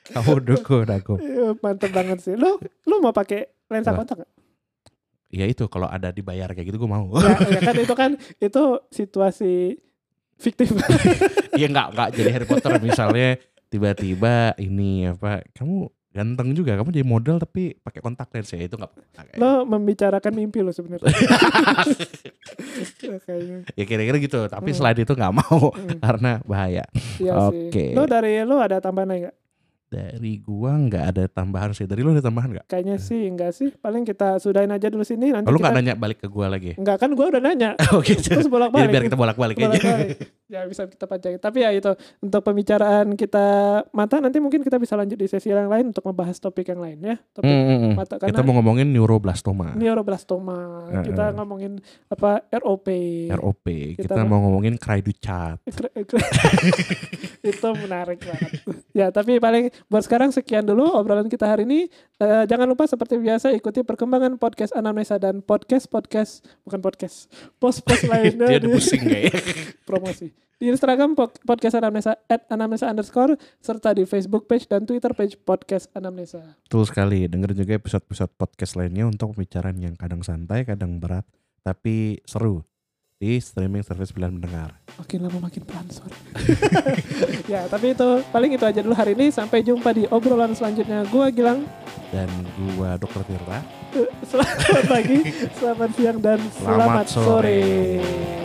Speaker 2: kamu dukun agung.
Speaker 1: Eh, Mantep banget sih. Lu lu mau pakai lensa
Speaker 2: Wah.
Speaker 1: kontak nggak?
Speaker 2: Ya itu kalau ada dibayar kayak gitu gue mau.
Speaker 1: Ya, ya kan itu kan itu situasi fiktif.
Speaker 2: Iya nggak nggak jadi Harry Potter misalnya tiba-tiba ini apa kamu ganteng juga kamu jadi model tapi pakai kontak lens ya itu nggak apa-apa. Kayak-
Speaker 1: lo membicarakan mimpi lo sebenarnya Ya, kayaknya
Speaker 2: ya kira-kira gitu tapi
Speaker 1: Hmm.
Speaker 2: selain itu nggak mau
Speaker 1: Hmm,
Speaker 2: karena bahaya
Speaker 1: iya
Speaker 2: Oke.
Speaker 1: sih lo dari lo ada tambahan lain nggak
Speaker 2: dari gua nggak ada tambahan sih dari lu ada tambahan nggak
Speaker 1: kayaknya sih enggak sih paling kita sudahin aja dulu sini nanti
Speaker 2: lu nggak
Speaker 1: kita
Speaker 2: nanya balik ke gua lagi
Speaker 1: enggak kan gue udah nanya
Speaker 2: oke
Speaker 1: terus bolak
Speaker 2: jadi
Speaker 1: balik
Speaker 2: biar kita bolak-balik aja
Speaker 1: ya bisa kita panjangin. Tapi ya itu untuk pembicaraan kita mata nanti mungkin kita bisa lanjut di sesi yang lain untuk membahas topik yang lain ya. Topik
Speaker 2: Hmm, hmm, hmm.
Speaker 1: mata
Speaker 2: Kita
Speaker 1: karena
Speaker 2: mau ngomongin neuroblastoma,
Speaker 1: neuroblastoma.
Speaker 2: Ah. Eh,
Speaker 1: Kita
Speaker 2: eh.
Speaker 1: ngomongin apa ROP.
Speaker 2: ROP. Kita,
Speaker 1: Kita mau-
Speaker 2: mau ngomongin Kraiducat.
Speaker 1: itu menarik banget. ya, tapi paling buat sekarang sekian dulu obrolan kita hari ini. Eh, jangan lupa seperti biasa ikuti perkembangan podcast Anamnesa dan podcast-podcast bukan podcast, post-post lainnya
Speaker 2: Dia
Speaker 1: di
Speaker 2: udah pusing ya. kayak.
Speaker 1: promosi. Di Instagram pod- podcast Anamnesa at Anamnesa underscore serta di Facebook page dan Twitter page podcast Anamnesa.
Speaker 2: Betul sekali. Dengar juga episode-episode podcast lainnya untuk pembicaraan yang kadang santai, kadang berat, tapi seru di streaming service pilihan mendengar.
Speaker 1: Makin lama makin pelan sorry. ya, tapi itu paling itu aja dulu hari ini. Sampai jumpa di obrolan selanjutnya. Gua Gilang
Speaker 2: Dan gua Dr. Tirta.
Speaker 1: Selamat pagi, selamat siang, dan selamat,
Speaker 2: Selamat sore.
Speaker 1: sore.